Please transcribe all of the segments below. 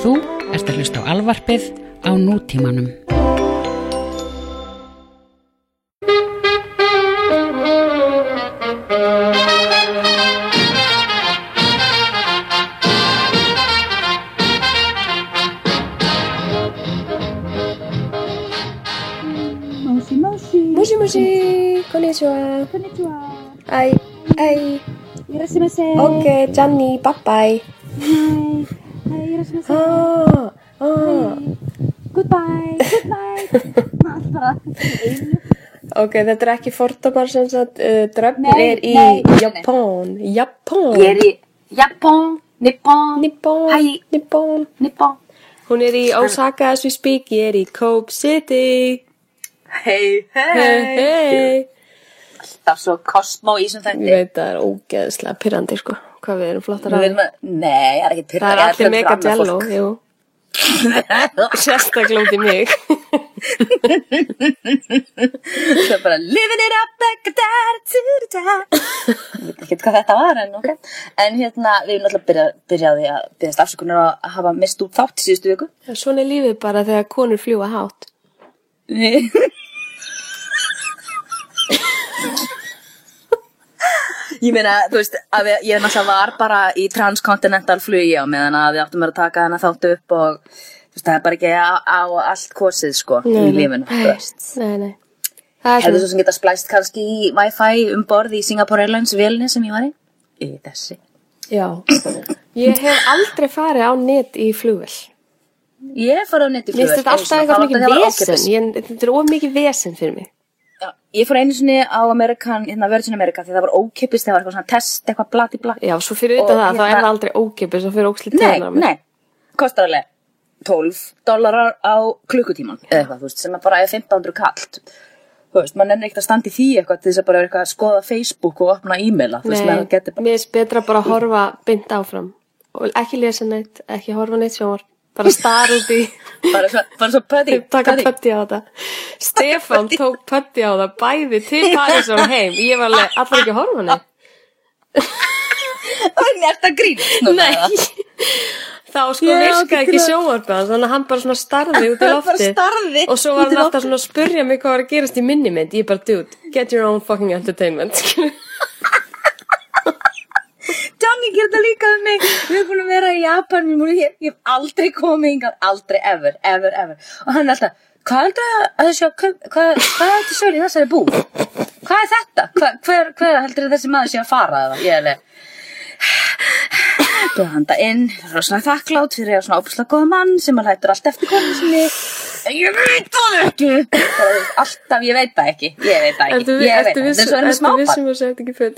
Þú ert að hlusta á alvarpið á nútímanum. Moshi moshi. もしもし、こんにちは。 Konnichiwa. はい、はい、 Irashimasen. オッケー、ジャンニー、バッバイ。 Hi. Hi, irashimasen. あ Hi. ー、あ Goodbye. Goodnight. Bara einu. ー。Ok, þetta er ekki fordómar sem sagt, uh, dröfnir Nei, er í nei, nei. Japón. Japón. Ég er í Japón, Nippon, Nippon. Hæ. Nippon. Nippon. Hún er í Osaka as we speak, ég er í Cope City. Hei, Hei, hei. Það er svo kosmó í sem Ég þætti. veit það er ógeðslega pyrrandi, sko. Hvað við erum flottar Nú að erum við, nei, það er ekki Það er allir mega jello, jú. Sérstaklega út í mig. Það er bara living it up like a da da da da. Ég veit ekki hvað þetta var en ok. En hérna, við erum alltaf byrja, byrjaði að byrjast afsökunar á að hafa mist út þátt síðustu viku. Svona er lífið bara þegar konur fljúa hátt. Ég meina, þú veist, að við, ég náttúrulega var bara í transkontinental flugi á meðan að við áttum að taka hana þátt upp og þú veist, það er bara ekki á, á allt kosið, sko, í lífinu, þú veist. Nei, nei. Það er Hefðu svona, svo sem geta splæst kannski í Wi-Fi um borð í Singapore Airlines vélni sem ég var í? Í þessi. já. Ég hef aldrei farið á net í flugvel. Ég fór á neti Mér finnst þetta alltaf eitthvað mikið vesen. Ég, þetta er of mikið vesen fyrir mig. Já, ég fór einu sinni á Amerikan, hérna Virgin America, því það var ókipist, það var eitthvað svona test, eitthvað blati blati. Já, svo fyrir utan Og það, þá er hérna- það aldrei ókipis og fyrir óksli Nei, tjónar. nei, kostar alveg 12 dólarar á klukkutíman eða eitthvað, þú veist, sem er bara 1500 kallt þú veist, mann er ekkert að standa í því eitthvað til þess að bara vera eitthvað að skoða Facebook og opna e-maila, þú veist, Nei, maður getur bara mér finnst betra bara að horfa bynd áfram. Og ekki lesa neitt, ekki horfa neitt sjónvarp. Bara star út í, bara svo, bara svo pöti, taka pöti pötti á þetta. Stefan tók pötti á það bæði til Paris og heim. Ég var alveg, allir ekki að horfa neitt. Þannig er þetta grínast núna eða? Nei, þá sko Ég virkaði átti ekki til að- sjónvarpið hans, þannig að hann bara svona starði út í Hann bara lofti starði og svo var út í hann alltaf svona að spurja mig hvað var að gerast í minni mynd, ég bara dude, get your own fucking entertainment skilur. Johnny gerir þetta líka um mig Við erum búin að vera í Japan Við múlum, ég, ég hef aldrei komið hingað Aldrei, ever, ever, ever Og hann er alltaf Hvað heldur að þessi á kaup- Hvað hvað er þetta söl í þessari búð? Hvað er þetta? Hva, hver, hver heldur að þessi maður sé að fara það? Ég er alveg Blanda inn Róslega þakklátt fyrir að eiga svona óbúslega góða mann sem að lætur allt eftir konu sinni En Ég veit það ekki Bara, Alltaf, ég veit það ekki Ég veit það Ertu ekki vi- Ég veit ertu það ekki viss- um- Þetta er svo erum við ertu smábarn vissum að segja þetta ekki full?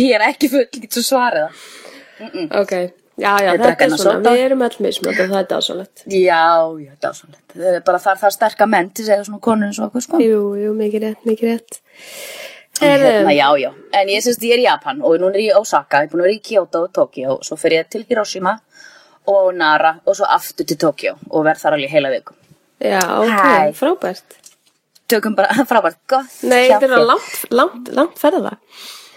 Ég er ekki full, ég get svo svarið það Mm. Ok, já já, Ég drakk þetta er hennar svona, soda. við erum all mismönd og það er dásalett. Já, já, þetta er svona Það er bara þar þarf sterka menn til að segja svona konur eins og okkur sko Jú, jú, mikið rétt, mikið rétt. hérna, Herðu, Já, já, en ég syns ég er í Japan og núna er ég í Osaka, ég er búin að vera í Kyoto og Tokyo svo fer ég til Hiroshima og Nara og svo aftur til Tokyo og verð þar alveg heila viku já, Hæ. ok, frábært. Tökum bara, frábært, gott Nei, hjá þetta er þér. langt, langt, langt ferða.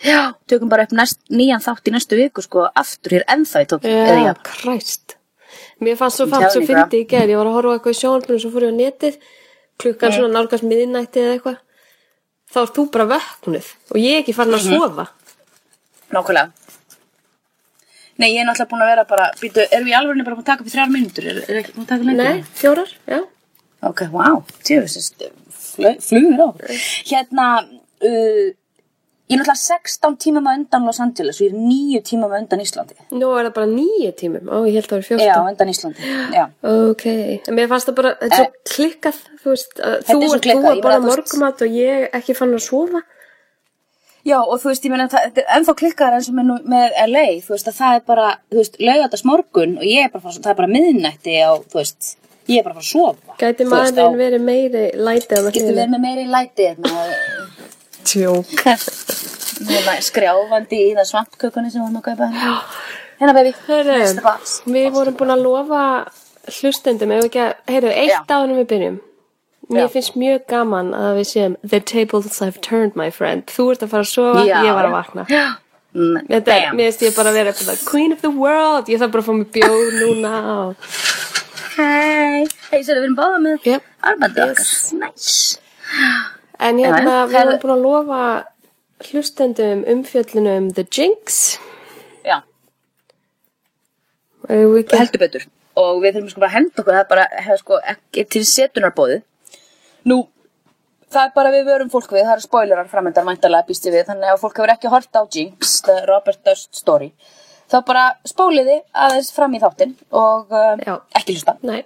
Já, tökum bara upp næst, nýjan þátt í næstu viku sko, aftur hér ennþá í Tokyo eða í Já, Japan. kræst Mér fannst svo fannst svo telling you, fyndi í gerð Ég var að horfa á eitthvað í sjónvarpinu og svo fór ég á netið klukkan svona nálgast miðinætti eða eitthvað þá ert þú bara vöknuð og ég er ekki farin að Mhm. sofa Nákvæmlega Nei, ég er náttúrulega búin að vera bara býtu, erum við í alveg bara búin að taka upp í þrjár mínútur er, er ekki búin að taka lengur? Nei, fjórar, já Ok, wow, tjóðisist, flugur á. Hérna, uh, ég er náttúrulega 16 tímum á undan Los Angeles og ég er 9 tímum á undan Íslandi. Nú er það bara nýju tímum, ó ég held það var Já, á fjórstán undan Íslandi, já. Ok, en mér fannst það bara þetta er svo klikkað, þú veist að þú, Eh. er svo ert- þú klikkað, að ég borða meina, þú veist- morgumat og ég ekki farin að sofa Já, og þú veist, ég meina, það- þetta er ennþá klikkar eins og með, nú- með LA, þú veist, að það er bara, þú veist, laugatast morgun og ég er bara, að fara- það er bara miðnætti og, þú veist, ég er bara að fara að sofa. Gæti Þú veist, maðurinn þá verið meiri lætið að Getur verið með meiri hérna, lætið, með Tjó með skrjáfandi hérna, í það svampkökunni sem við erum að kaupa. Já. Hérna, baby, Mr. Heyrðu, Box. við vorum búin að lofa hlustendum, ef við ekki að, heyrðu, eitt áðunum við byrjum. Mér Já. finnst mjög gaman að við séum The tables I've turned, my friend. Þú ert að fara að sofa, Já. ég var að vakna. Mm, Já, Þetta er, Bam. mér finnst ég bara að vera eitthvað like, Queen of the world, ég þarf bara að fá mig bjóð núna og... Hei, hei, svo við erum báða með Yep. armbandið Yes. okkar. Næs. En hérna, Jæja. við erum búin að lofa hlustendum umfjöllunum The Jinx Já, Eigum við ekki- heldur betur. Og við þurfum sko bara að henda okkur, það er bara, hefur sko, ekki til setunarbóði. Nú, það er bara við vörum fólk við, það eru spoilerar framöndar mæntalega býst ég við, þannig að ef fólk hefur ekki hort á Jinx, the Robert Dust story, þá bara spóliði aðeins fram í þáttinn og uh, Já. ekki hlusta. Nei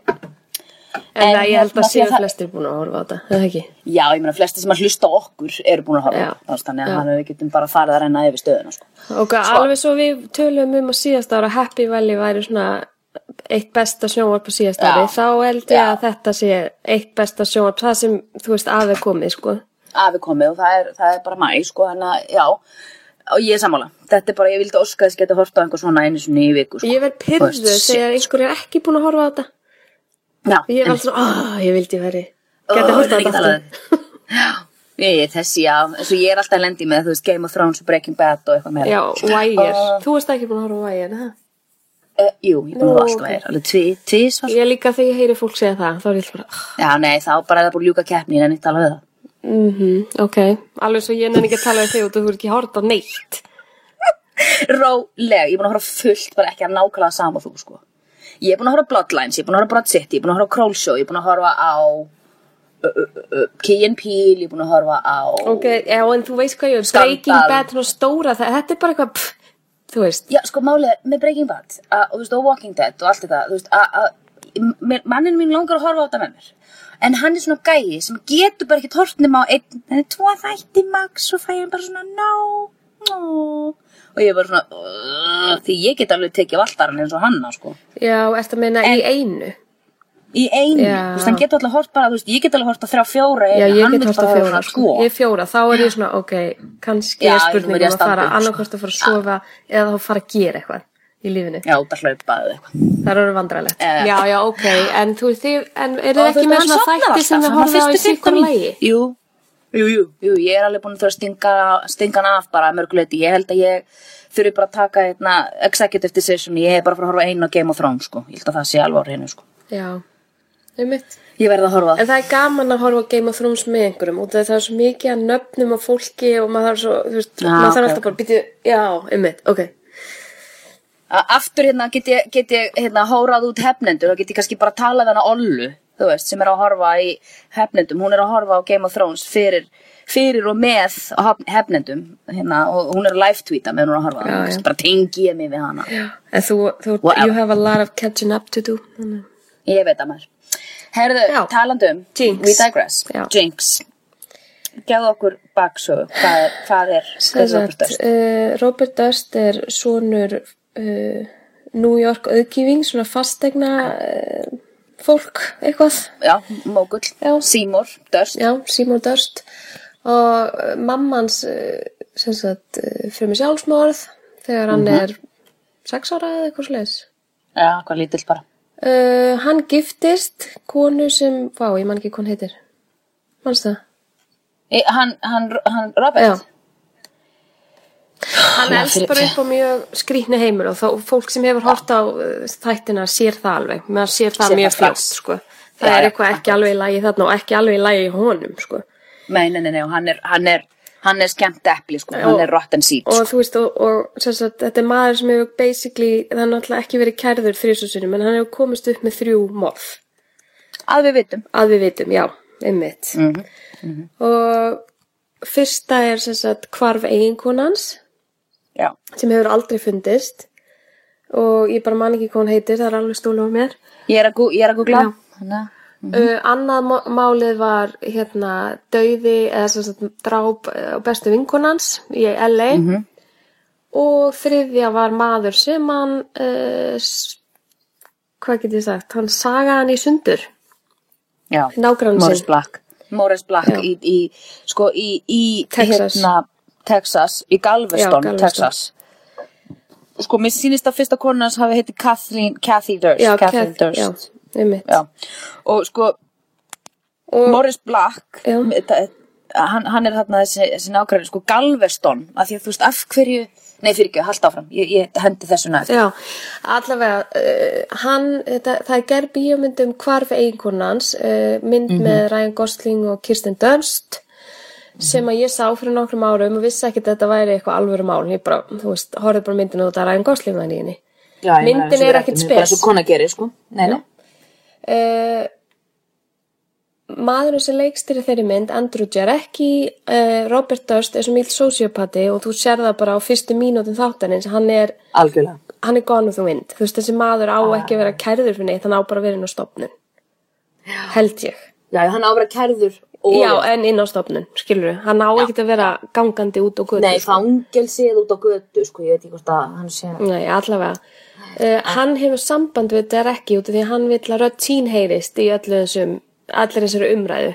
En, En en ég held að hérna, því séu að það- flestir búin að horfa á þetta, eða ekki? Já, ég meina, flesti sem að hlusta á okkur eru búin að horfa, Já. á það, þannig að Já. hann við getum bara farið að renna yfir stöðuna, sko. Og alveg svo við tölum um að síðast ára Happy Valley væri svona eitt besta sjónvarp á síðast Já. ári þá held ég Já. að þetta sé eitt besta sjónvarp það sem, þú veist, að er komið sko. afi komið og það er, það er bara mæ, sko, þannig að, já, og ég er sammála. Þetta er bara, ég vildi óska þess að geta horft á einhver svona einu sinni í viku, sko. Ég verð Þú pyrðu veist, þegar einhver er ekki búin að horfa á þetta Já, Ég er en- alltaf svona, áh, ég vildi ég veri Ó, Gæti að horfa á ég get þetta alveg- aftur Já, ég er þessi, já, eins og ég er alltaf að lendi með, þú veist, Game of Thrones og Breaking Bad og eitthvað meira. Já, Wire, Ó. þú veist ekki búin að horfa á Wire ha? Eh, jú, ég er búin að Nú, hafa alltaf að ok. er, alveg tvi, tvis, Ég líka þegar ég heyri fólk segja það þá er ég alltaf bara, "Ah." já, nei, þá bara er það búin að ljúka keppnin en eitt alveg það. mhm, ok Alveg svo ég nenni ekki að tala við þig og þú hefur ekki horfa neitt Rólega, ég er búin að horfa á fullt, bara ekki að nákvæmlega sama og þú, sko. Ég er búin að horfa á Bloodlines, ég er búin að horfa á Broad City, ég er búin að horfa á Kroll Show, ég er búin að horfa á uh, uh, uh, uh, Key and Peele, ég er búin að horfa á... Ok, já, en þú veist hvað ég er Skandal. Breaking Bad, svona stóra, það, þetta er bara eitthvað pff, þú veist, Já, sko, málið er með Breaking Bad að, og, þú veist, og Walking Dead og allt þetta, þú veist, að, að mér- manninn mín langar að horfa á þetta með mér. En hann er svona gæi sem getur bara ekki tort nema á einn, það er tvo þætti max og fæ hann bara svona, no, no. Og ég er bara svona, "Ugh," því ég get alveg tekið valdarinn eins og hann, sko. já, ertu að meina í einu í einu, Já. þú veist, hann getur alltaf hort bara, þú veist, ég get alveg hort að þrjá fjóra einu, Já, ég hann get vill hort bara að horfa fjóra, á sko. ég er fjóra, þá er ég svona, ok, kannski er Já, nú er spurningum ég að að standa fara upp, sko. annarkvort að fara að sofa eða þá fara að gera eitthvað í lífinu, já, út að hlaupa eða eitthvað það eru vandrarlegt. Já. Já, já, ok, en þú þið, en eru Og þið þú ekki veist, með hann svona sofnar þætti alltaf, sem þið hann horfið á í fyrstu síkur 15 lægi? jú, jú, jú, jú, ég er alveg búin að þurfa að stinga, stinga hann af bara að mörguleiti, ég held að ég þurfi bara að taka einna executive decision, ég er bara að fara að horfa á einu á Game of Thrones, sko, ég held að það sé alveg á reynu, sko, Já, um ég verð að horfa á En það er gaman að horfa á Game of Thrones með einhverjum og það er svo mikið að nöfnum og fólki og maður þarf svo, þú veist, Já, maður þarf ok, alltaf bara að býta, já, einmitt, ok. A- aftur hérna get ég, get ég hérna, hórað út hefnendur og get ég kannski bara talað við hana Ollu þú veist, sem er að horfa í hefnendum hún er að horfa á Game of Thrones fyrir, fyrir og með haf- hefnendum hérna, og hún er að live tweeta meðan hún er að horfa Já, já, já. bara tengi ég mig við hana En þú, þú, Wow. you have a lot of catching up to do. þannig. ég veit að maður herðu, Já. talandi um Jinx. we digress, Já. Jinx gefðu okkur baksögu hvað er, hvað er, hvað er Robert Durst? uh, Robert Durst er sonur uh, New York auðgýfing, svona fastegna uh, fólk, eitthvað. já, Mógull, Já. Seymour, Durst Já, Simon Durst og eh, mamma hans eh, sem sagt fyrir mig sjálfsmorð þegar hann Mhm. er sex ára eða eitthvað slags. já, hvað lítill bara Uh, hann giftist konu sem, vá, ég man ekki hvað hann heitir. Manst það? Í- hann, hann, hann Robert Já. Hann Já, elst fyrir- bara upp á mjög skrýtni heimur og þá fólk sem hefur hort á eh, þættina sér það alveg. Meðan sér það Sér mjög það strax. fljótt, sko. Það Já, er já, eitthvað ekki alveg í lagi þarna og ekki alveg í lagi í honum, sko. Nei, nei, nei, nei, og hann er, hann er, hann er skemmt epli, sko, hann er rotten seed, og sko. þú veist, og, og sem sagt, þetta er maður sem hefur basically, það er náttúrulega ekki verið kærður þrjusunum, en hann hefur komist upp með þrjú morð, Að við vitum. að við vitum, já, einmitt og fyrsta er sem sagt hvarf eiginkonans Já. sem hefur aldrei fundist og ég bara man ekki hvað hún heitir, það er alveg stólu á mér Ég er að, gú, ég er að googla. Já. Þannig að- uh, annað má- málið var hérna dauði eða sem sagt dráp eh, á bestu vinkonans í LA og þriðja var maður sem hann uh, hvað get ég sagt, hann saga hann í sundur Já. Nágranni sinn. Morris Black. Morris Black í, í, sko, í, í, Texas. hérna, Texas, í Já, Galveston, Galveston. Texas. Sko, mér sýnist að fyrsta konan hans hafi heiti Kathleen, Kathy Durst. Kathleen Kath- Durst. já, einmitt Já. Og sko, Morris Black Já. það- hann, hann er þarna þessi, þessi nákvæmlega sko Galveston að því að þú veist af hverju Nei, fyrir ekki, halda áfram. Ég, ég hendi þessu nægt. Já, allavega, uh, hann, þetta, það er gerð bíómynd um hvarf eiginkonans, uh, mynd Mhm. með Ryan Gosling og Kirsten Dunst, sem að ég sá fyrir nokkrum árum og vissi ekkert að þetta væri eitthvað alvöru mál, ég bara, þú veist, horfði bara á myndina og þetta er Ryan Gosling þannig í henni. Já, ég meina, Myndin eins og er við ekkert ræddum, Bara spes. svo kona gerir, sko. Nei, nei. Uh, maðurinn sem leikstýri þeirri mynd, Andrew Jarecki, uh, Robert Durst er svo mýll sociopati og þú sér það bara á fyrstu mínútum þáttanins, hann er, Algjörlega. hann er gone with the wind þú veist þessi maður á Ah. ekki að vera kærður fyrir neitt hann á bara að vera inn á stofnun held ég Já, hann á að vera kærður og... já en inn á stofnun skilur hann á ekki að vera gangandi út og guð Nei, fangelsið út á götu, sko, ég veit ekki hvort að hann sé... Nei, allavega. Uh, hann hefur samband við Derekki út af því að hann vill að rödd sín heyrist í öllu þessum, allir þessari umræðu.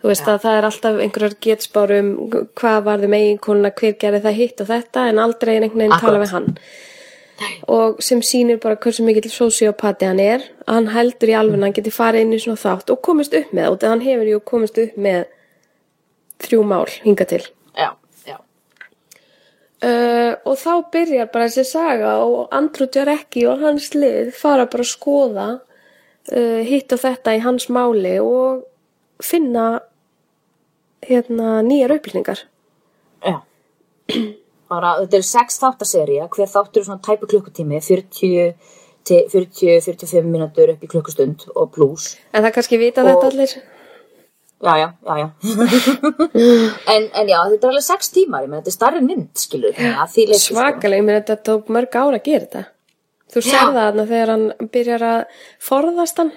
Þú veist að það er alltaf einhverjar getspár um hvað var þið meginkonuna, hver gerði það hitt og þetta en aldrei er einhvern veginn tala Akkurat. við hann. Nei. Og sem sýnir bara hversu mikill sociopati hann er, að hann heldur í alveg að hann geti farið inn í svona þátt og komist upp með það út af hann hefur jú komist upp með þrjú mál hinga til. Já, já. Uh, og þá byrjar bara þessi saga og Andrew Jarecki og hans lið fara bara að skoða uh, hitt og þetta í hans máli og finna hérna nýjar upplýningar. Já. Bara, þetta eru sex þáttaserja, hver þáttur er svona tæpu klukkutími, 40 til 40-45 mínútur upp í klukkustund og pluss. En það kannski vita Og- þetta allir. Já, já, já, já. en, en já, þetta er alveg sex tímar, ég meina, þetta er starri mynd, skilur. Já, Svakaleg, mér þetta tók mörg ára að gera þetta. Þú sko. Já. sér það þarna þegar hann byrjar að forðast hann.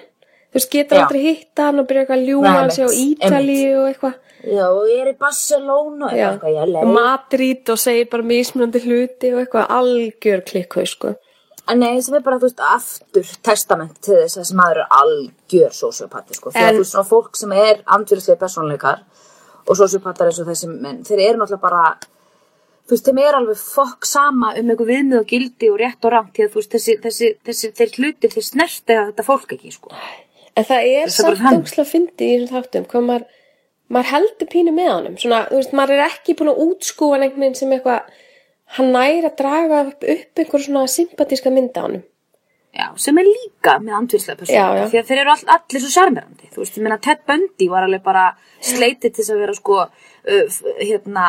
Þú veist, getur Já. aldrei hitta hann og byrjar eitthvað að ljúga Nei, hann sig á einmitt, Ítali og eitthvað. Já, og ég er í Barcelona, Já. eitthvað, ég er leið. Madrid og segir bara mismunandi hluti og eitthvað algjör klikku sko. En Nei, sem er bara, þú veist, aftur testament til þess að þessi maður er algjör sociopati, sko. Þegar En- þú veist, svona fólk sem er andfyrirslegi persónleikar og sociopatar eins og þessi menn, þeir eru náttúrulega bara, þú veist, þeim er alveg fokk sama um einhver viðmið og gildi og rétt og rangt, því að þú veist, þessi, þessi, þessi, þeir hlutir, þeir snerti þetta fólk ekki, sko. En það er Þetta er bara samt hann. ógslag fyndið í þessum þáttum hvað maður, maður heldur pínu með honum svona, þú veist, maður er ekki búin að útskúfa hann einhvern veginn sem eitthvað hann næri að draga upp, upp einhver svona sympatíska mynda honum Já, sem er líka með andfyrslega Já, já. persónleika, því að þeir eru all, allir svo sjarmerandi, þú veist, ég meina Ted Bundy var alveg bara sleitið til þess að vera sko, uh, f- hérna,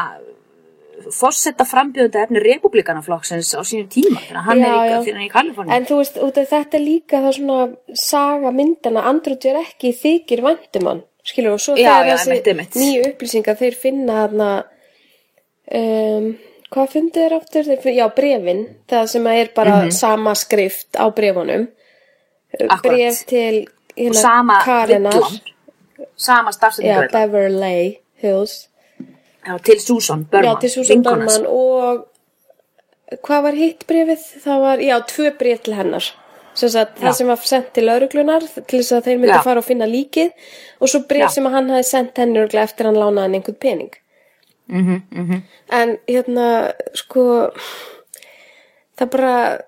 fórsetta frambjöðunda efni republikanaflokksins á sínum tíma, þannig að hann Já, er líka, já. því hann er í Kaliforni. en þú veist, út af þetta er líka það svona saga myndana, Andrew Jarecki þykir vandum hann, skilur og svo Já, þegar já, einmitt, einmitt. þessi nýju upplýsingar þeir finna þarna um, hvað fundið er aftur? Þeir, fin- já, brefin, það sem er bara sama skrift á brefunum Mhm. Akkurat. bref til og hérna, sama Karenar villan, sama já, starfsendingur, Beverly Hills til Susan Berman, já, til Susan vinkonan Berman og hvað var hitt brefið? það var, já, tvö bref til hennar sem sagt, Já. það sem var sendt til lauruglunar til þess að þeir myndi Já. fara og finna líkið og svo bref Já. sem að hann hafi sendt henni örugglega eftir hann lánaði hann einhvern pening Mhm, -hmm, en hérna, sko það bara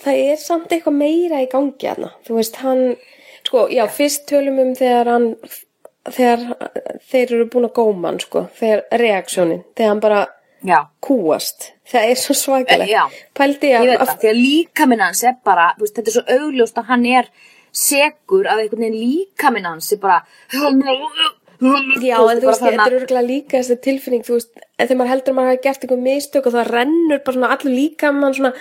það er samt eitthvað meira í gangi hérna, þú veist, hann sko, já, fyrst tölum um þegar hann þegar þeir eru búin að góma hann, sko, þegar reaksjónin þegar hann bara Já. kúast það er svo svakalegt Eh, já. pældi ég ég veit það, því að líkaminn hans er bara þú veist, þetta er svo augljóst að hann er segur að einhvern veginn líkaminn hans er bara Já, Já, en þú veist, þetta er örgulega líka þessi tilfinning, þú veist, en þegar maður heldur að maður hafi gert einhver mistök og það rennur bara svona allur líkamann, svona,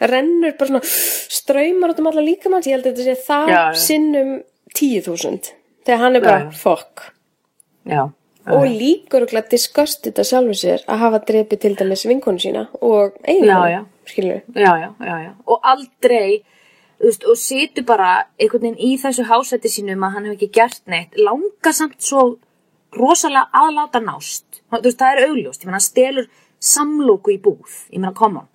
rennur bara svona ströymar út um allar líkamann, ég held að þetta sé það Já, já. sinnum tíu þúsund, þegar hann er bara, Já, já. fuck, Já, og líka örgulega disgustið að sjálfu sér að hafa drepið til dæmis vinkonu sína og eiginlega, Já, já. skilur við. Eh, já, já, já, já. Og aldrei, þú veist, og situr bara einhvern veginn í þessu hásætti sínum að hann hefur ekki gert neitt, langar samt svo rosalega aðláta nást. Þú veist, það er augljóst, ég meina, hann stelur samlóku í búð, ég meina, come on.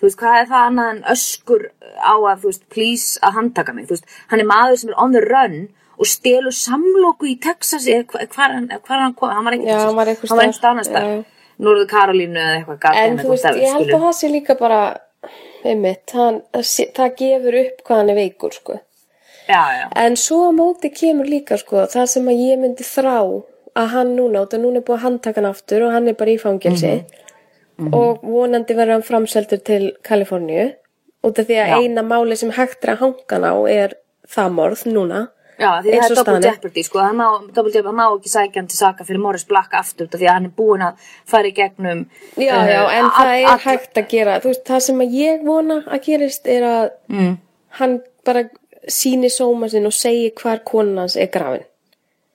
Þú veist, hvað er það annað en öskur á að, þú veist, please að handtaka mig, þú veist, hann er maður sem er on the run og stelur samlóku í Texas, eða hva- hvar hann, hvar hann kom, hann var ekki Já, í Texas, hann var einhvers hann var staðar, einhvers annars já, þar, já. Norðu Karolínu eða eitthvað gat En þú veist, ég held að það sé líka bara, einmitt, hann, það sé- það gefur upp hvað hann er veikur, sko. Já, já. En svo á móti kemur líka sko það sem að ég myndi þrá að hann núna, út að núna er búið að handtaka hann aftur og hann er bara í fangelsi Mhm. og vonandi verður hann framseldur til Kaliforníu út af því að eina máli sem hægt er að hanga hann á er það morð núna Já, því það Eins er og double staðan er. jeopardy, sko, hann má, double jeopardy, hann má ekki sækja hann til saka fyrir Morris Black aftur, út af því að hann er búin að fara í gegnum Já, eh, já, en all- það er all- hægt að gera þú veist, það sem að ég vona að gerist er að Mm. hann bara síni sóma sinn og segi hvar konan hans er grafin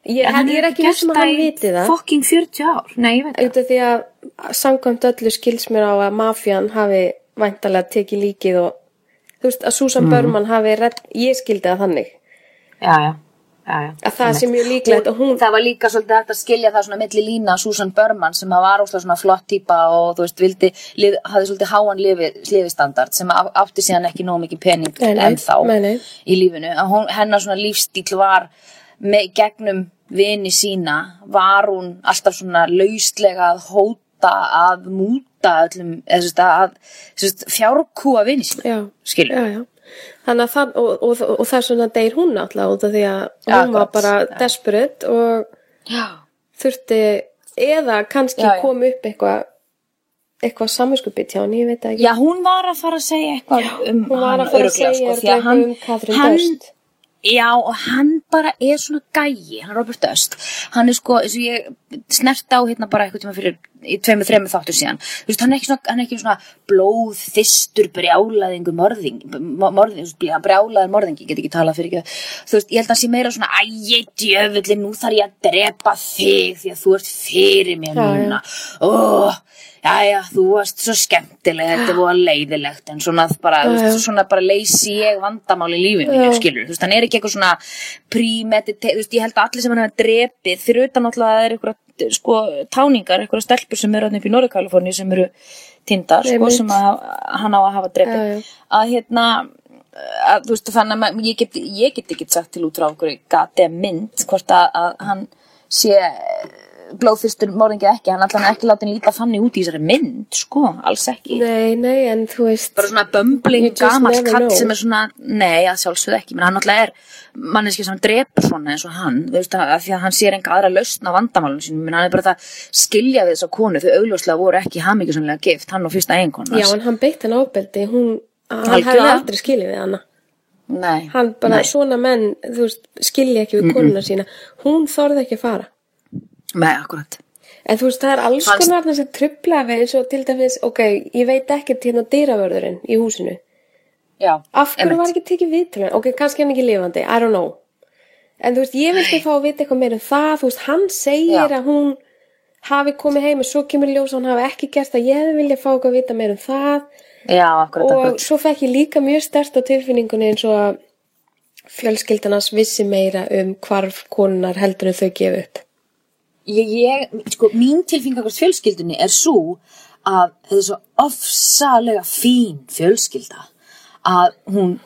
ég, En hann ég er hefur ekki gert vissum að hann viti í það fucking 40 ár, nei, ég veit auðvitað því að samkvæmt öllu skils mér á að mafjan hafi væntalega tekið líkið og þú veist að Susan Mhm. Börman hafi redd, ég skildi það þannig Já, já, já, já að það sé mjög líklegt og hún það var líka svolítið hægt að skilja það svona milli lína að Susan Berman sem að var óslega svona flott típa og þú veist, vildi, lið, hafði svolítið háan lifi, lifistandard sem á- átti síðan ekki nóg mikið pening Nei, nei, ennþá nei, nei. í lífinu að hún, hennar svona lífstíl var með gegnum vini sína var hún alltaf svona lauslega að hóta að múta öllum, eða þú veist að, að þú veist, fjárkúa vini sína já, skilur. já, já. Þannig að það, og, og, og, og það er svona deyr hún alltaf út af því að Já, hún var gott, bara já. desperate og Já. þurfti eða kannski Já, já. kom upp eitthvað eitthvað samvinskupið hjá hann, ég veit það ekki Já, hún var að fara að segja eitthvað um hún var hann að fara að örugglega, segja sko, því að örugglega hann, um Katrín hann, Döst. Já, og hann bara er svona gæi, hann Robert Dust, hann er sko, eins og ég snert á hérna bara eitthvað tíma fyrir í tveimur, þreimur þáttu síðan, þú veist, hann er ekki svona, hann er ekki svona blóð, þistur, brjálaðingur morðing, mo- morðing, þú veist, brjálaður morðingi, ég get ekki talað fyrir ekki, þú veist, ég held að hann sé meira svona, æ, djöfulli, nú þarf ég að drepa þig því að þú ert fyrir mér Já, já. núna, ó, Jæja, þú varst svo skemmtileg, þetta er búið leiðilegt en svona bara, þú Já, veist, já. svona bara leysi ég vandamál í lífinu, Já. mínu, skilur, þú veist, hann er ekki eitthvað svona premeditate, þú veist, ég held að allir sem hann hefur drepið, fyrir utan náttúrulega að það er eitthvað, sko, táningar, eitthvað stelpur sem eru þarna upp í Norðu-Kaliforníu sem eru tindar, sko, Einmitt. sem að, hann á að hafa drepið, Já, já. að hérna, að, þú veist, þannig að ma- ég get, ég get ekki sagt til út frá okkur gati mynd, hvort að, að hann sé eh, blóðfyrstur morðingi eða ekki, hann allan ekki látin líta þannig út í þessari mynd, sko, alls ekki nei, nei, en þú veist bara svona bumbling You just gamall never kall know. sem er svona, nei að sjálfsögðu ekki menn hann náttúrulega er manneski sem drepur svona eins og hann, þú veist að, að því að hann sér enga aðra lausn á vandamálun sínum, menn hann er bara það skilja við þessa konu, þau augljóslega voru ekki hamingjusamlega gift, hann og fyrsta eiginkonu já, en hann beitt hann ábeldi hún, hann Algjörlega. hefði aldrei skilið við hana nei, hann bara, Nei. svona menn, þú veist, skilja ekki við konuna sína hún þorði ekki að fara nei, akkurat En þú veist, það er alls Fannst- konar þarna sem trubla við eins og til dæmis, ok, ég veit ekkert hérna dýravörðurinn í húsinu. já, Af hverju var ekki tekið viðtölu? Ok, kannski er hann ekki lifandi, I don't know. En þú veist, ég vildi fá að vita eitthvað meira um það, þú veist, hann segir Já. að hún hafi komið heim og svo kemur ljós að hann hafi ekki gert það, ég hefði viljað fá eitthvað að vita meira um það já, akkurat, og akkurat. svo fekk ég líka mjög stert á tilfinningunni eins og að fjölskyldanars vissi meira um hvarf konunar heldur en þau gefa upp. Ég, ég, sko, mín tilfing akkvart fjölskyldunni er svo að þetta er svo ofsalega fín fjölskylda að hún,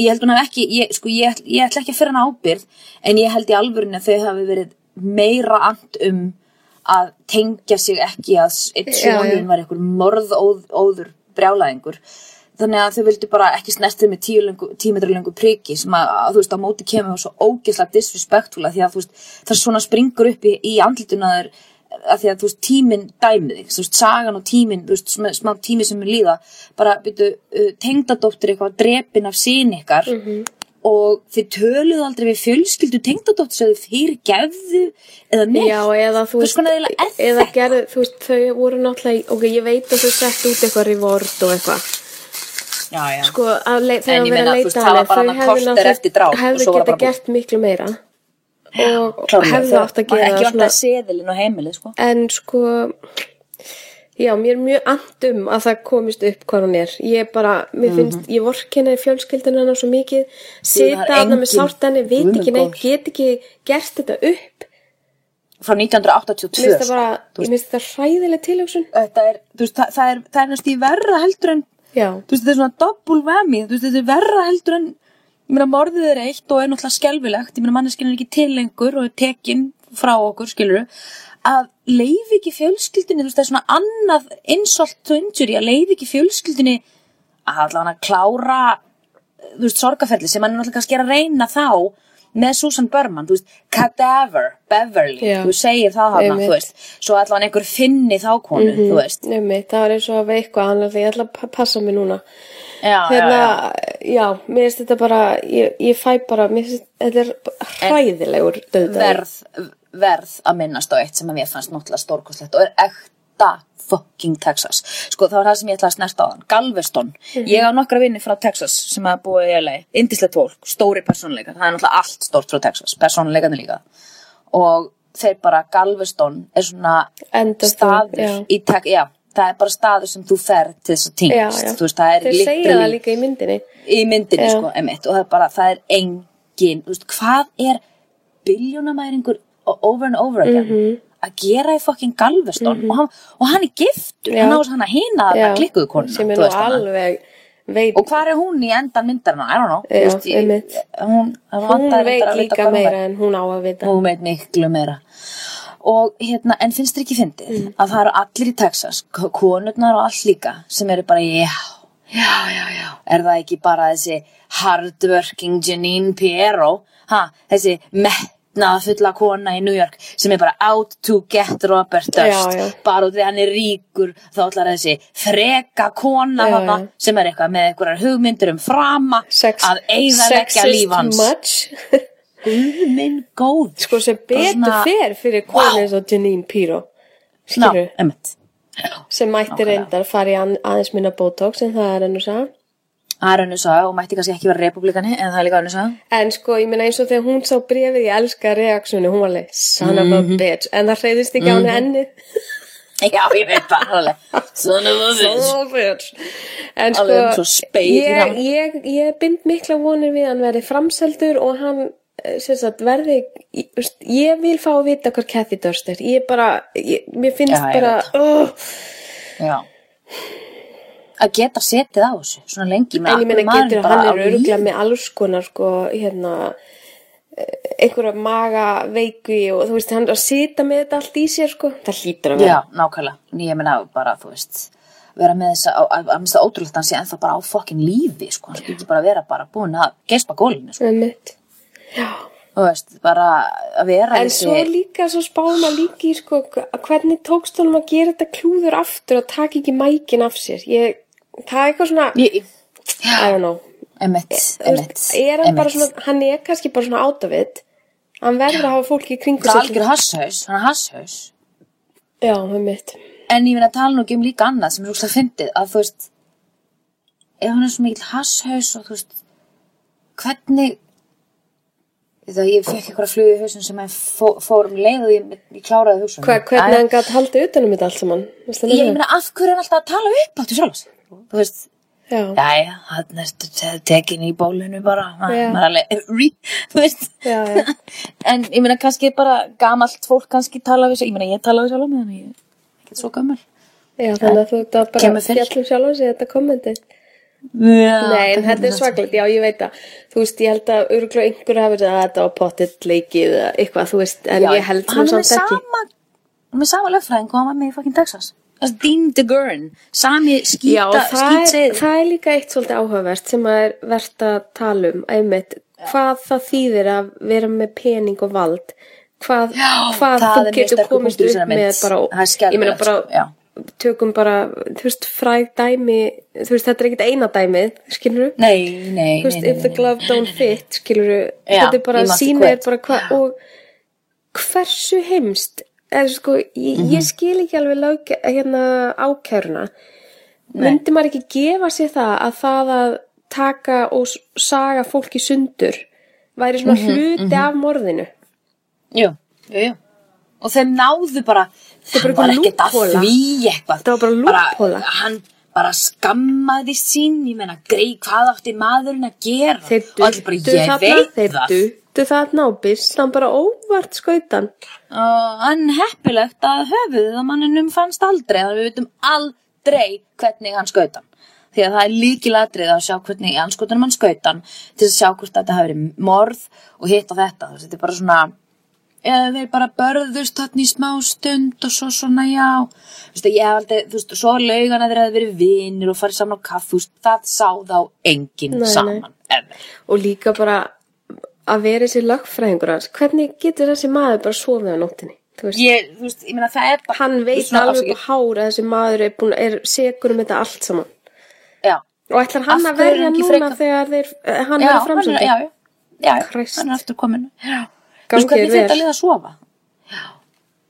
ég held hún hef ekki, ég, sko, ég, ætl- ég ætla ekki að fyrir hana ábyrð en ég held í alvörinu að þau hafi verið meira and um að tengja sig ekki að s- einn Já, já. sonin var einhver morðóður brjálæðingur þannig að þau vildu bara ekki snertið með tíu löngu, tímetra löngu priki sem að, að þú veist á móti kemur svo ógeðslega disrespektúla því að þú veist það svona springur upp í, í andlituna þér að því að þú veist tíminn dæmið þig þú veist sagan og tíminn, þú veist smá, smá tími sem er líða, bara byrju uh, tengdadóttir eitthvað drepin af sín ykkar Mhm. og þið töluðu aldrei við fjölskyldu tengdadóttir sem þið fyrir gefðu eða neitt Já, eða þú Hvers konar eiginlega er eða þetta? gerðu, þú veist, þau voru náttúrulega, í- ok, ég veit að þau sett út eitthvað reward og eitthvað, já, já. sko, að lei- þegar En að ég vera meina, að þú leita veist, það var bara annað korter eftir dráp og hefðu svo var það geta bara gert miklu meira og og Klárlega, hefðu þegar- átt að maður gera ekki það vant svona, að seðilinn og heimilið sko. en sko, já, mér er mjög andum að það komist upp hvað hún er, ég bara, mér Mhm. finnst, ég vorkina í fjölskyldinu hennar svo mikið, það sita er hana með engin- sárt henni, veit Guð minn ekki neitt, góður. get ekki gert þetta upp, frá mér 1982 finnst það bara, sko. mér finnst það hræðileg tilhugsun, þetta er, þú veist, það, það er, það er næst í verra heldur en já. þú veist, þetta er svona doppul vemi þú veist, þetta er verra heldur en ég meina, morðið er eitt og er náttúrulega skelfilegt ég meina, manneskinn er ekki til lengur og er tekin frá okkur, skilur að leiði ekki fjölskyldinni þú veist, það er svona annað insult to injury að leiði ekki fjölskyldinni að allan að klára þú veist, sorgaferli sem hann er náttúrulega kannski er að reyna þá með Susan Berman, þú veist, Cadaver, Beverly, Já. þú segir það hana, Einmitt. Mhm. þú veist, svo allan einhver finni þá konu, þú veist. Nei, mitt, það var eins og að við eitthvað annað því ég ætla að pa- passa mig núna. Já, Hérna, já, já. já, mér finnst þetta bara, ég, ég fæ bara, mér finnst þetta er hræðilegur döðdæður. Verð, verð að minnast á eitt sem að mér fannst náttúrulega stórkoslegt og er ekta fucking Texas. Sko, það var það sem ég ætlaði að snerta á þann. Galveston. Mhm. Ég á nokkra vinni frá Texas sem að búa í LA. Indislegt fólk, stóri persónuleikar. Það er náttúrulega allt stórt frá Texas. Persónuleikarnir líka. Og þeir bara, Galveston er svona Enda staður já. í tek, já, það er bara staður sem þú fer til þess að Já, týnst, já. þú veist, það er Þeir segja það literally líka í myndinni. í Já. myndinni, sko, emitt, og það er bara, það er engin, þú veist, hvað er biljónamæringur over and over again Mhm. að gera í fucking Galveston og, hann, og hann er giftur, Já. hann á hann að hina Já, að klikkuðu konuna, Sem er þú nú veist hana. alveg, veit, og hvað er hún í endan myndarna, I don't know, Já, þú veist, ég- einmitt. hún, hún vantar veit reyndar að vita hvað líka hún veit. meira en hún á að vita. Hún veit miklu meira. Og hérna, en finnst þér ekki fyndið Mm. að það eru allir í Texas, k- konurnar og allt líka, sem eru bara, já, já, já, já, er það ekki bara þessi hardworking Janine Piero, ha, þessi metnaða fulla kona í New York sem er bara out to get Robert Durst Já, já. bara út því hann er ríkur þá ætlar þessi freka kona Já, hana, já. sem er eitthvað með einhverjar hugmyndir um frama Sex, að eigða vekja sexist líf hans much. Guð minn góð sko sem Bara betur svona- fer fyrir Vá. konu eins og Janine Piro Ná, skilur, einmitt. sem mætti nákvæmlega. reyndar fara í an- aðeins minna botox en það er enn og sá Það er önnur saga og mætti kannski ekki vera republikani en það er líka önnur saga. en sko ég meina eins og þegar hún sá brefið ég elska reaksjónu, hún var alveg son of a Mhm. bitch, en það hreyðist ekki á henni enni Já, ég veit það alveg. Son of a bitch. son of a bitch en sko Alveg eins og spegill í ég, hann. ég, ég bind mikla vonir við að hann verði framseldur og hann eh, sem sagt verði ég, veist, ég vil fá að vita hvað Kathy Durst er ég bara, ég, mér finnst Já, ég bara oh, Já. Að geta setið á þessu svona lengi. En ég meina maðurinn getur að bara hann á er lífi. öruglega með alls konar sko, hérna eh, einhverja maga veiki og þú veist, hann er að sita með þetta allt í sér sko, það hlýtur að vera Já, nákvæmlega. En Ég meina bara, þú veist, vera með þess að, að, að minnst það ótrúlegt að hann sé ennþá bara á fokkin lífi, sko. Hann skilji bara vera bara búin að geispa gólinu, sko. Einmitt. Þú veist, bara að vera En svo líka svo spáum að líka í sko, að hvernig tókst honum að gera þetta klúður aftur og taka ekki mækin af sér ég, það er eitthvað svona Ég, I don't know emitt, Þú emitt, veist, er hann, bara svona, hann er kannski bara svona átafitt hann verður að hafa fólki í kringu Það er algjör hasshaus, hann er hasshaus. Já, einmitt En ég finna að tala nú ekki um líka annað sem er úrslag fyndið að þú veist ef hann er svo mikill hasshaus og þú veist hvernig það ég fekk eitthvað flug í hausum sem hann fó, fór um leið og ég, ég kláraði hugsun Hva, Hvernig hann gætt haldið utanum þetta allt saman Veistu, ég, ég nefna? meina af hverju er hann alltaf að tala upp áttu sjálf þú veist Já. Jæja, hann er te- tekin í bólinu bara, Ma- Já. maður alveg, rí, þú veist. Já, já. en ég meina kannski bara gamalt fólk kannski tala við sér, ég meina ég tala við sjálf með hann, ég er ekkert svo gammal. Já, þannig að þú ert að bara Kemur fyrir. fjallum sjálf sig þetta kommenti. Já, Nei, en þetta er svaklegt, já, ég veit að, þú veist, ég held að örgulega einhverju hafi verið að þetta á pottitt leikið eða eitthvað, þú veist, en ég held sem hann er með samt ekki. sama hann er með sama lögfræðing og hann var með í fucking Texas Þessi Dean DeGurn sami Já, skýta það er, skýtsið það er líka eitt svolítið áhugavert sem að er verðt að tala um, einmitt, hvað það þýðir að vera með pening og vald, hvað, hvað það er þú mjög getur sterkur komist punktur í upp þessari með mynd. bara, Það er skelfilegt, ég meina bara, sko, já. tökum bara, þú veist, fræg dæmi, þú veist, þetta er ekkit eina dæmið, skilur nei, nei, þú nei, veist, nei, if the nei, nei. glove don't fit skilur Já, þetta er bara you must sína er quit. bara hvað og hversu heimst eða sko, ég, ég Mhm. skil ekki alveg lög, hérna ákæruna myndi maður ekki gefa sér það að það að taka og s- saga fólki sundur væri svona Mhm, hluti af morðinu Jú, jú, jú. og þeim náðu bara er bara hann eitthvað var ekkert að loophole. því eitthvað Það var bara loophole. hann bara skammaði sín ég meina, grei, hvað átti maðurinn að gera þeir og allir bara, duttu ég þarna veit þeir það duttu þarna og byssan bara óvart skautan og anheppilegt að höfuðið að manninum fannst aldrei þannig að við vitum aldrei hvernig hann skautan því að það er líkilatrið að sjá hvernig í anskotanum hann skautan til að sjá hvort þetta hafi verið morð og hitt og þetta, þú veist, þetta er bara svona eða þeir bara börðust þarna í smá stund og svo svona já þú veist, ég hef aldrei, þú veist, svo laugana þeir hafi verið vinir og farið saman á kaff þú veist, það sá þá enginn Nei, nei. saman nei. og líka bara að vera þessi lögfræðingur hans, hvernig getur þessi maður bara sofið á nóttinni? Þú veist, Ég, þú veist, ég meina það er bara hann veit Svona, alveg afsakið- upp á hár að þessi maður er, búin, er segur um þetta allt saman. Já, Og ætlar hann Af að hverju er verja hann ekki núna frekar- þegar þeir, eh, hann já, verður hann er, framsöndur? já, já, já, já, Christ. hann er aftur komin Já, þú Gangi veist hvernig þér þetta vel. liða að sofa Já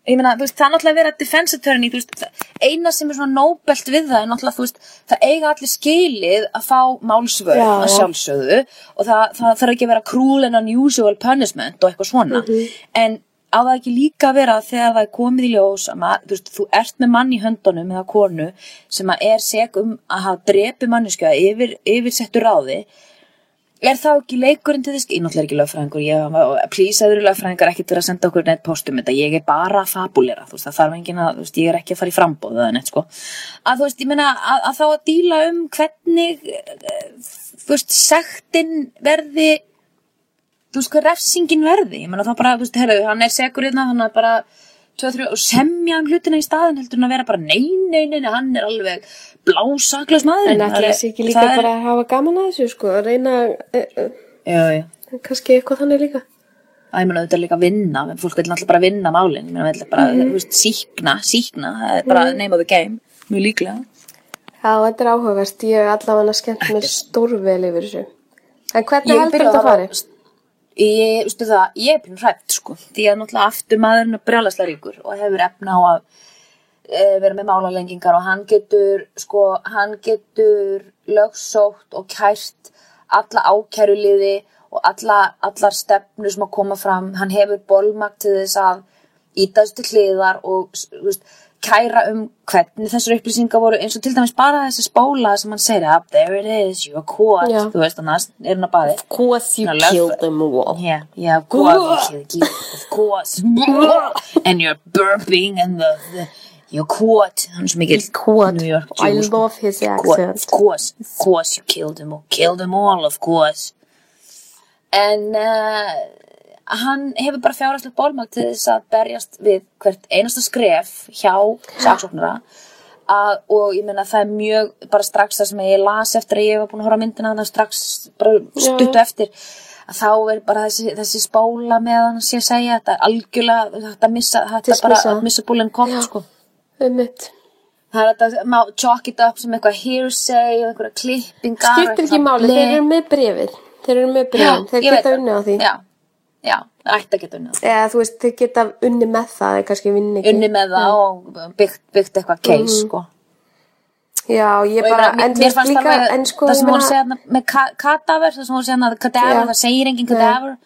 Ég meina, þú veist, það er náttúrulega að vera defense attorney, þú veist, það- eina sem er svona nóbelt við það er náttúrulega, þú veist, það eiga allir skilið að fá málsvörn Já. að sjálfsögðu og það, það þarf ekki að vera cruel and unusual punishment og eitthvað svona. En á það ekki líka að vera þegar það er komið í ljós að maður, þú veist, þú ert með mann í höndunum eða konu sem að er seg um að hafa drepi manneskja yfir, yfir settu ráði er þá ekki leikurinn til þess ég náttúrulega er ekki lögfræðingur ég, please eður lögfræðingar ekkert vera að senda okkur neitt postum þetta, ég er bara að fabulera þú veist, það þarf enginn að, þú veist, ég er ekki að fara í frambóð eða neitt sko, að þú veist, ég meina að, að þá að díla um hvernig eh, þú veist, sektin verði þú veist, hvað refsingin verði ég meina þá bara, þú veist, herru, hann er segur hérna þannig að bara, tvö, þrjú, og semja um hlutina í staðin heldur en að vera bara nei, nei, nei, nei hann er alveg blásaklaus maður En ætlar þessi ekki líka bara að hafa gaman að þessu, sko, að reyna, eh, eh, já, já. kannski eitthvað þannig líka. að ég meina auðvitað líka að vinna fólk vil náttúrulega bara vinna málin ég meina vil bara, þú veist, síkna, síkna það er bara name of the game, mjög líklega Já, þetta er áhugavert. Ég hef allavega skemmt mér stórvel yfir þessu. En hvernig Ég heldur byrjaði þetta að- fari? ég, veistu það, ég er pínu hrætt sko, því að náttúrulega aftur maðurinn er brjálaslega ríkur og hefur efna á að e, vera með málalengingar og hann getur sko, hann getur lögsótt og kært alla ákæruliði og alla, allar stefnur sem að koma fram hann hefur bolmagt til þess að ítaðist til hliðar og s- þú veist, kæra um hvernig þessar upplýsingar voru eins og til dæmis bara þessi spóla sem hann segir að there it is, you are caught Já. þú veist, annars er hann að baði Of course you Now, love- killed them all. Yeah, yeah, of course. you kid, Of course. and you're burping and the, the you're caught. Hann er svo mikill Caught. New York I Jew, sko. love his Caught, accent. Of course, of course you killed them all. Killed them all, of course. En uh, hann hefur bara fjárhæslega bólmag til þess að berjast við hvert einasta skref hjá saksóknara. Að, og ég meina það er mjög bara strax það sem ég las eftir að ég var búin að horfa á myndina þannig strax bara stuttu eftir að þá er bara þessi, þessi spóla með hann sé að segja þetta er algjörlega þetta missa, þetta bara Dismissa. að missa búlinn kort sko Um mitt. það er þetta, má chalk it up sem eitthvað hearsay og einhverja klippingar og Skiptir ekki eitthvað máli, blek. þeir eru með brefið. Þeir eru með Já, brefið, þeir ég veit geta það. unni á því. já, já, það ætti að geta unnið á því. Eða þú veist, þeir geta unni með það, þeir kannski vinni ekki. unnið með það og byggt, byggt eitthvað case Mhm. sko Já, ég Og ég bara, meina, mér- en þú mér veist fannst líka, alveg en sko, það ég sem hún meina, segja þarna með ka- kadaver, það sem hún segja þarna kadaver, Já. það segir engin kadaver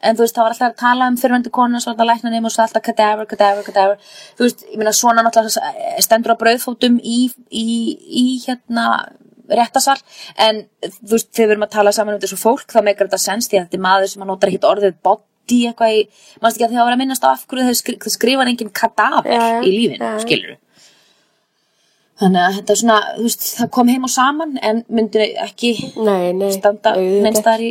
en þú veist, það var alltaf að tala um fyrirvendu konu svo alltaf lækna nefnum og svo alltaf kadaver, kadaver, kadaver þú veist, ég meina svona náttúrulega eh, stendur á brauðfótum í, í, í hérna réttasal en þú veist, þegar við erum að tala saman um þessu fólk þá meikar þetta sens því að þetta er maður sem að notar ekkit orðið body eitthvað í, mannst ekki að því að vera að minnast á af hverju þau skri, þau skrifar engin kadaver Já, já. í lífinu, Já, já. skilur Þannig að þetta er svona, þú veist, það kom heim og saman en myndi ekki nei, nei, standa auðvitað neins þar í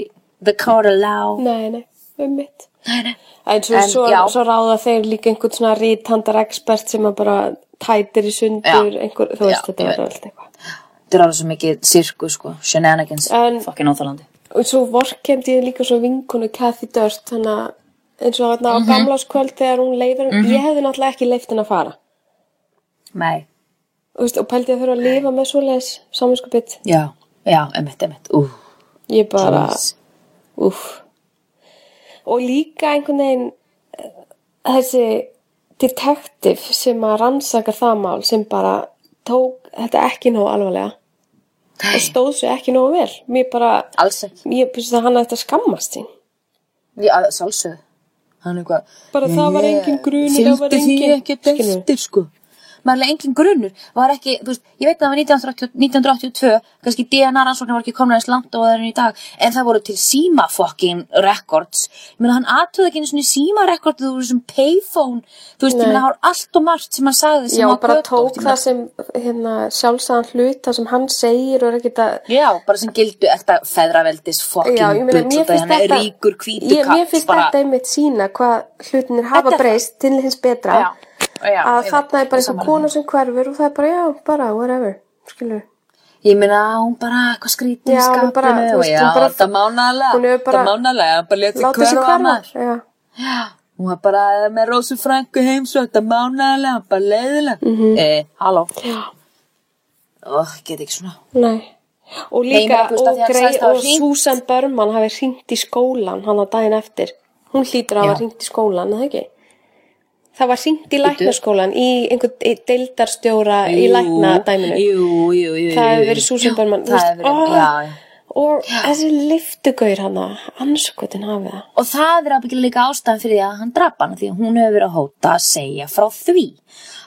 the car allow. Nei, nei, um mitt. En svo, En, svo, já. svo ráða þeir líka einhvern svona ríthandar expert sem að bara tætir í sundur, Já. einhver, þú veist, Já, þetta ég var allt eitthvað. Þetta er alveg svo mikið sirku, sko, shenanigans, En- fucking óþalandi. Og svo vorkemdi ég líka svo vinkonu Kathy Dörst, þannig að eins og Mhm. þarna á gamláskvöld þegar hún leifir, ég hefði náttúrulega ekki leift henni að fara. Nei, Og, veist, og pældi að þurfa að lifa með svoleiðis saminskupið. já, já, emitt, emitt, ú, Ég bara, jeez. úff. Og líka einhvern veginn eh, þessi detektiv sem að rannsaka það mál sem bara tók þetta ekki nóg alvarlega. Það stóð sér ekki nóg vel. Mér bara, Alls ekki, ég finnst að hann ætti að skammast sín. já, að sjálfsögðu. Hann er eitthvað, Bara það var ég engin grunur, það var Fylgdi því engin- ekkert Skilurðu? eftir, sko. Maður er engin grunur, var ekki, þú veist, ég veit að það var 1980 1982, kannski DNA rannsóknir var ekki komin aðeins langt og það er enn í dag, en það voru til síma fucking records. Ég meina, hann aðtöði ekki einu svona síma record, þú voru sem payphone, þú veist, ég meina, það var allt og margt sem hann sagði sem Já, var bara götótt, tók ég meina, það sem hérna, sjálfsagðan hlut, það sem hann segir og er ekkert að... Já, bara sem gildu ekta feðraveldis fucking Já, ég meina, mér bull, finnst þannig þetta... ríkur hvítu Ég- Mér finnst þetta einmitt sína hvað hlutinir hafa Þetta- breyst til hins betra. Já, já, að ég veit, þarna er bara sammála einhver kona sem hverfur og það er bara, já, bara, whatever, skilur. Ég meina, hún bara eitthvað skrítið í Já, hún skapinu bara, þú og veist, já, hún bara- það mánalega, hún hefur bara- það mánalega, hún bara letið Láta sér hverfa hverfa. maður. Já. Já, hún var bara með Rósu Franku heimsótt, það mánalega, bara leiðilega. Mm Mhm. -hmm. Eh, halló. Já. Ó, get ekki svona. Nei. Og Nei, ég líka, meina, þú og, veist, af því hann grei, sagðist hafa og hringt. Susan Berman hafi hringt í skólan hann að daginn eftir. Hún hlýtur að hafa Já. hringt í skólan, eða ekki? Það var hringt í læknaskólan í einhvern í deildarstjóra í Jú, læknadæminu. Jú, jú, jú. Það hefur jú, verið jú. Susan Já, Berman. þú Það veist, hefur ó, verið, já, já. Og þessi liftugaur hann að anskotin hafi það. Og það er ábyggilega líka ástæðan fyrir því að hann drapa hana því að hún hefur verið að hóta að segja frá því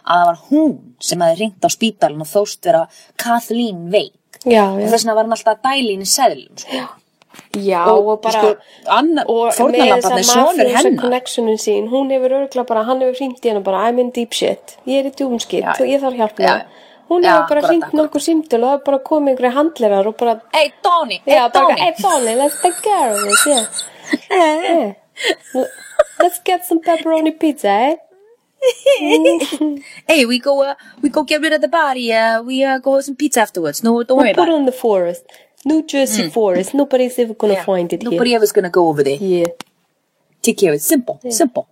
að það var hún sem hefði ringt á spítalinn og þóst vera Kathleen veik. Já, já. Og þess vegna var hann alltaf að dæla henni seðlum. Sko. Já, sko, og, bara... annar, og fórnalambarnir sonur hennar. connectionin sín, hún hefur örgulega bara hann hefur hringt í hennar bara, I'm in deep shit ég er í djúmskitt, Já, já. ég þarf hjálp með Já, já. hún Já, hefur bara akkurat, hringt akkurat. nokkur símtölu og það er bara komið einhverja handlegar og bara, Ey, Donny, ey, já, bara Donny. hey Donny, let's take care of this yeah. yeah. let's get some pepperoni pizza eh? Hey, we go, uh, we go get rid of the body. Uh, we uh, go have some pizza afterwards. No, don't worry we'll put about it it. on the forest New Jersey Hmm. forest, nobody's ever gonna find it Nobody ever's gonna go over there. here yeah. Take care of it. Simple, simple.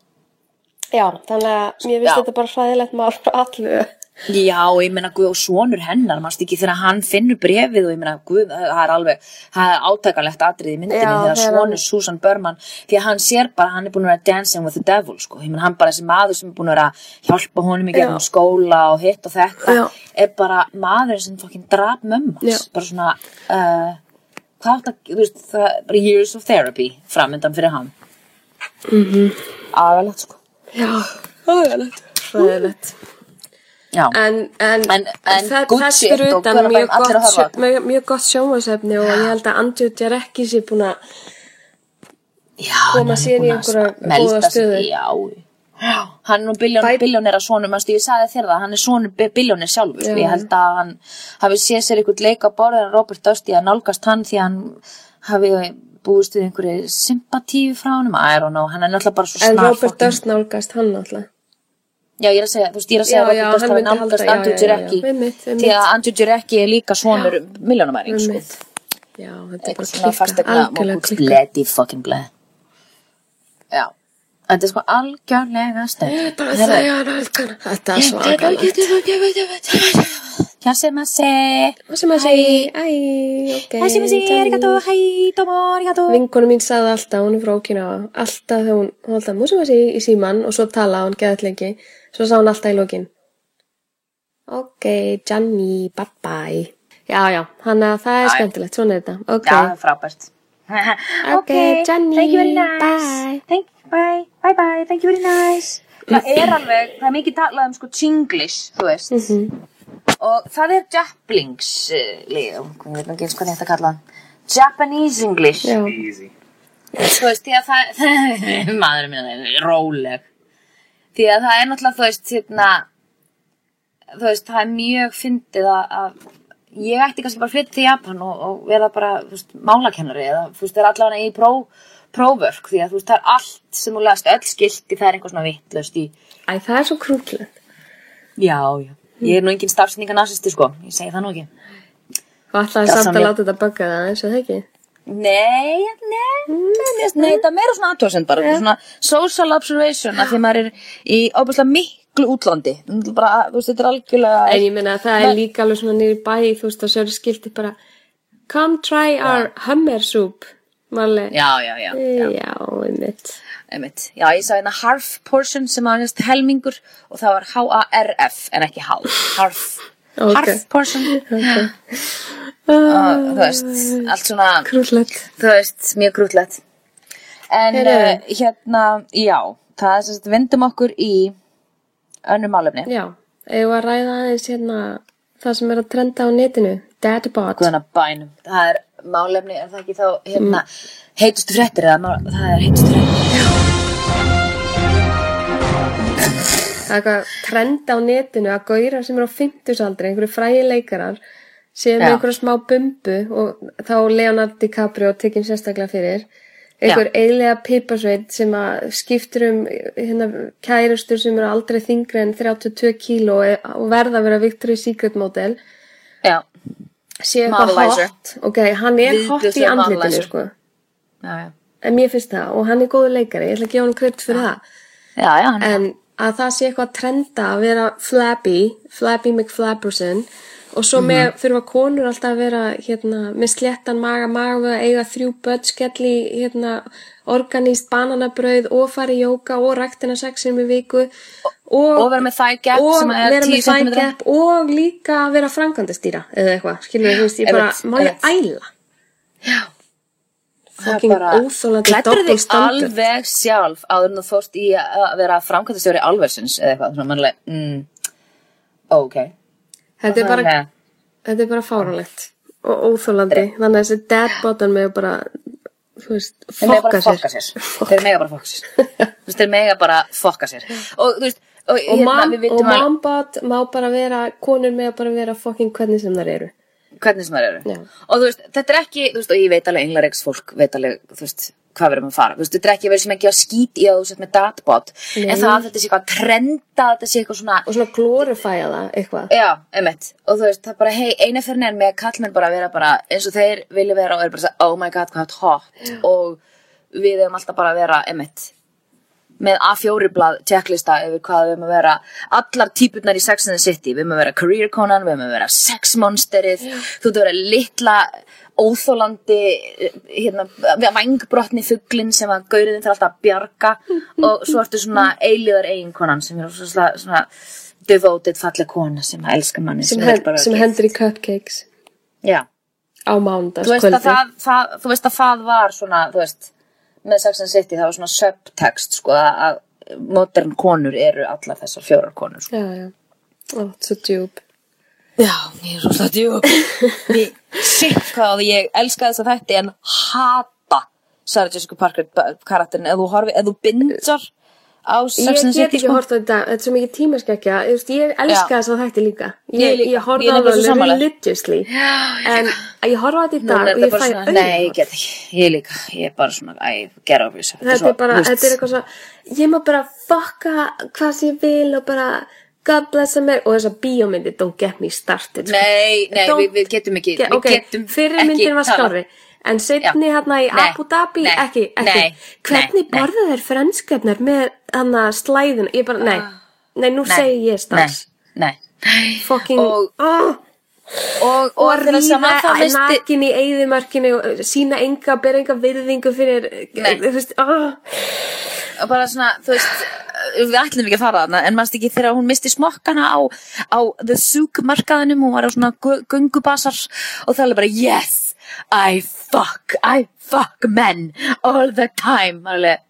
já, þannig að mér finnst Já. þetta bara hræðilegt maður frá allu Já, ég meina Guð og sonur hennar, mannst ekki þegar hann finnur brefið og ég meina Guð, það er alveg, það er átakalegt atrið í myndinni Já, þegar þegar sonur Susan Berman, því að hann sér bara, hann er búin að vera dancing with the devil, sko, ég meina hann bara þessi maður sem er búin að vera að hjálpa honum í gegnum skóla og hitt og þetta, Já. er bara maður sem fokkin drap mömmans, bara svona, uh, hvað átt að, þú veist, það er bara years of therapy framöndan fyrir hann. Mm Mhm. -hmm. Agalegt, sko. hræðilegt Já. en, en, En- en það, good þess shit fyrir og utan hvenær mjög bæn allir að gott, horfa á sjó- mjög, mjög gott sjómasefni og ég held að Andrew Jarecki sé búin að já, hann koma er sér í búinn að einhverja sp- melda góða sig- stöðu. já hann er nú biljón, Bæ- biljónir að sonum manstu, ég sagði þér það, hann er sonur biljónir sjálfur Já. ég held að hann hafi séð sér einhvern leik á borðið en Robert Dusty að nálgast hann því að hann hafi búist við einhverju sympatíu frá hann I don't know, hann er náttúrulega bara svo en snar Robert fucking- Durst nálgast hann alltaf já, ég er að segja, þú veist, ég er að segja Já, Robert já, Dusty hann hafi myndi halda- nálgast já, Andrew já, já, Jurecki já, einmitt, einmitt. því að Andrew Jurecki er líka sonur miljónamæring sko. já, þetta er eitthvað bara svona klikka, fastegna algjörlega klikka bloody fucking bleð já þetta er sko algjörlega stönd bara þegar hann elskar hana. þetta er svakalegt hvað sem að se það sem að segja, æ, ok hvað sem að se arigato, hæ, domo, arigato vinkonu mín sagði alltaf, hún er frá Okinawa alltaf þegar hún, hún alltaf, músum að segja í síman og svo tala hún geðað lengi svo sá hún alltaf í lokin ok, Gianni, bye bye já, já, hann að það er skemmtilegt svona er þetta, já, það ok, er frábært ok, Gianni thank you very nice bye thank, bye, bye bye, thank you very nice það Mm-hmm. er alveg, það er mikið talað um sko chinglish, þú veist Mm-hmm. og það er japlings eh, lið, ég veit nú ekki eins hvað þetta kalla hann. Japanese English já, þú veist, því að það maðurinn minn er róleg því að það er náttúrulega, þú veist, hérna þú veist, það er mjög fyndið að, að ég ætti kannski bara að flytta til Japan og, og verða bara, þú veist, málakennari eða, þú veist, það er allavega í pró, próvörk því að, þú veist, það er allt sem þú lest öll skilti, það er eitthvað svona vitt, þú veist, í æ, það er svo krúklegt já, já, ég er nú engin starfsninga nasisti, sko, ég segi það nú ekki og alltaf Já, samt að sammála. láta þetta bugga það eins og það ekki Nei, nei, nei, nei, það er meira svona aðtóðsend bara, svona social observation af því að maður er í óbúslega miklu útlandi, bara, þú veist, þetta er en algjörlega, ég meina að það er líka alveg svona niður í bæ, þú veist, það sér skilti bara come try our hummer soup Marley, já, já, já, já, einmitt einmitt, já, ég sagði hérna harf portion sem að hérst helmingur og það var H-A-R-F en ekki H, harf, Ok. Ah. harf portion, okay. og, þú veist, allt svona, Krúllett. þú veist, mjög grútlegt, en uh, Heyrðu. hérna, já, það er sérst, vindum okkur í önnum málefni. Já, eigum við að ræða aðeins hérna það sem er að trenda á netinu, dadbot. Guðana bænum, það er málefni, er það ekki þá hérna, heitustu fréttir eða mál, það er heitustu fréttir. Það er eitthvað trenda á netinu að gauðra sem er á 50 aldri, einhverju fræði leikarar, sem er Já. einhverju smá bumbu og þá Leonardo DiCaprio tekinn sérstaklega fyrir. Einhver eiginlega piparsveit sem að skiptir um hérna, kærustur sem eru aldrei þingri en 32 kíló og verða að vera Victoria's Secret model. Já, sé eitthvað Moralizer. hot ok, hann er hot í Viðbjóðslega andlitinu moralizer. sko. já, já. en mér finnst það og hann er góður leikari, ég ætla að gefa hann krydd fyrir það Já, já, hann en að það sé eitthvað að trenda að vera flabby, flabby McFlabberson og svo með, Mhm. þurfa konur alltaf að vera hérna, með sléttan maga maga, eiga þrjú börn, skelli hérna, organíst bananabrauð og fara í jóka og ræktina sexinu með viku og, og vera með thigh gap og sem er vera 10 með cm. thigh gap og líka vera frangandastýra eða eitthvað, skilur þú veist, ég bara einmitt, má ég æla fucking óþolandi Klæddur double þig standard. alveg sjálf áður en þú fórst í að vera framkvæmtastjóri alversins eða eitthvað, svona mannlega, mm, ok. þetta er bara Þannig að- þetta er bara fáránlegt og óþólandi þannig að þessi dad button með bara þú veist, Þeir mega bara fokka sér, fokka sér. Þeir mega bara fokka sér. Þú veist, þeir mega bara fokka sér. Og þú veist, og, og, hérna, mom, við og vitum alveg mombot má bara vera konur með að bara vera fokking hvernig sem þar eru hvernig sem það eru. Já. Og þú veist, þetta er ekki, þú veist, og ég veit alveg englareiks fólk, veit alveg, þú veist, hvað við erum að fara. Þú veist, þetta er ekki verið sem ekki að skýt í að þú sett með datbot, en það að þetta sé eitthvað að trenda, þetta sé eitthvað svona, og svona glorifæja það eitthvað Já, einmitt, og þú veist, það er bara, hei, eina fyrir neðan með að kallmenn bara vera bara eins og þeir vilja vera og er bara að segja, oh my god, hvað þetta hot og við hefum alltaf bara að vera, einmitt, með A4 blað checklista yfir hvað við hefum að vera allar típurnar í Sex and the City, við hefum að vera career konan, við hefum að vera sex monsterið, þú ert að vera litla óþólandi, eh, hérna, vangbrotni fuglinn sem að gauriðin þarf alltaf að bjarga og svo ertu svona eilíðar eiginkonan sem er svona, svona devoted falleg kona sem að elska manni sem, vill hend, bara sem ekki- hendur í cupcakes Já, á þú veist, að mándagskvöldi það, það, þú veist að það var svona, þú veist, með Sex and the City það var svona subtext, sko, að að modern konur eru allar þessar fjórar konur, sko. já, já, Oh, ó, svo djúb Já, mér er svo slætt, jú. Mér, shit, hvað ég elska þess að þetta en hata Sarah Jessica Parker karakterin, ef þú horfi, ef þú bindsar á ég get sko, ekki horft á þetta, þetta er svo mikið tímaskekja ég, veist, ég elska Já. þess að þetta líka ég, Ég ég, líka. ég Ég horfði á er nefnilega svo það sammála. religiously já, en ég horfði á þetta í Núna dag er og þetta ég bara fæ svona, nei, ég auðvitað get ekki, ég líka, ég er bara svona, æ, get over yourself. þetta Svo, er bara, þú veist, þetta er eitthvað svo ég má bara fokka hvað sem ég vil og bara God bless a Mary og þess að bíómyndi don't get me started sko. Nei, nei, Don't við, við getum ekki, get- við ok, getum fyrir ekki myndin var talað. skárri en setni Já. hérna í Nei, Abu Dhabi nei, ekki, ekki nei, hvernig nei, nei. borða þær franskarnar með hann að slæðun ég bara, nei, nei, nú segi ég stans Ah, Nei, nei. fucking Og- Ah, Og, og og að þegar ríða saman það veistu, nakin í eigðumörkinu og sína enga, bera enga virðingu fyrir Nei. þú veist, ah. og bara svona, þú veist, við ætlum ekki að fara þarna, en mannst ekki þegar hún misti smokkana á, á The Souk markaðinum, hún var á svona gu- göngubasar og það er bara, yes, I fuck, I fuck men all the time, alveg,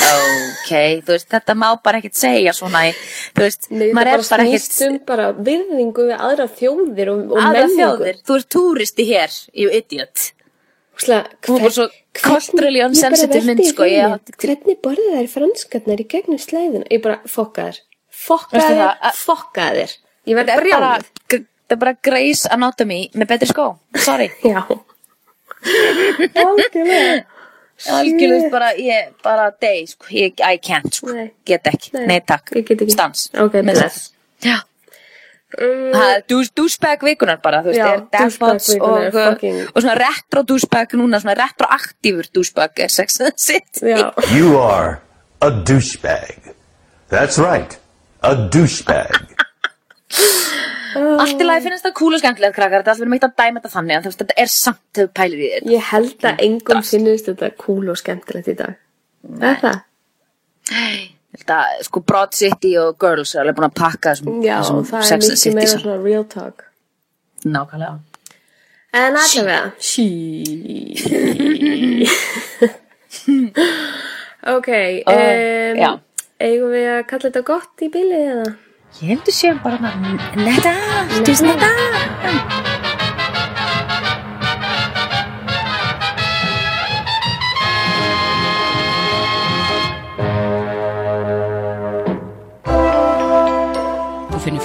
ok, þú veist, þetta má bara ekkert segja svona, í- þú veist, Nei, maður þetta er bara bara ekkert... snýst um bara virðingu við aðra þjóðir og, og aðra menningu. þjóðir, þú ert túristi hér you idiot Óslega, Hún var svo culturally unsensitive mynd, sko, ég átti- Hvernig borðið þær franskarnar í gegnum slæðina? Ég bara, fokka þér. Fokka Veistu það, þér, að- fokka þér. Ég verði er bara, brjálið. gr- það er bara Grey's Anatomy með betri skó, sorry Já. Algjörlega. algjörlega bara, ég, bara dey, sko, ég, I can't, sko, Nei. get ekki Nei, nei, takk, ég get ekki. stans Ok, Með Mm. bless. það. Já. Það er dú- douchebag vikunar bara, þú veist, Já, er dashbots douchebag vikunar og, er uh, fucking- og svona retro douchebag núna, svona retro aktífur douchebag er sex and the city. Já. You are a douchebag. That's right, a douchebag. Allt í lagi finnst það cool og skemmtilegt krakkar, þetta er allir meitt að dæma þetta þannig, en þú veist, þetta er samt þegar þú pælir í þetta. Ég held að engum finnist þetta cool og skemmtilegt í dag. Er það? Þetta, sko, Broad City og Girls er alveg búin að pakka þessum, Já, þessum það er Sex and mikið City meira saman. svona real talk. Nákvæmlega. En allavega. Sí. ok, Ó, um, já. eigum við að kalla þetta gott í bílið eða? Ég heldur séum bara hana, netta, stjúst netta. Þú finnir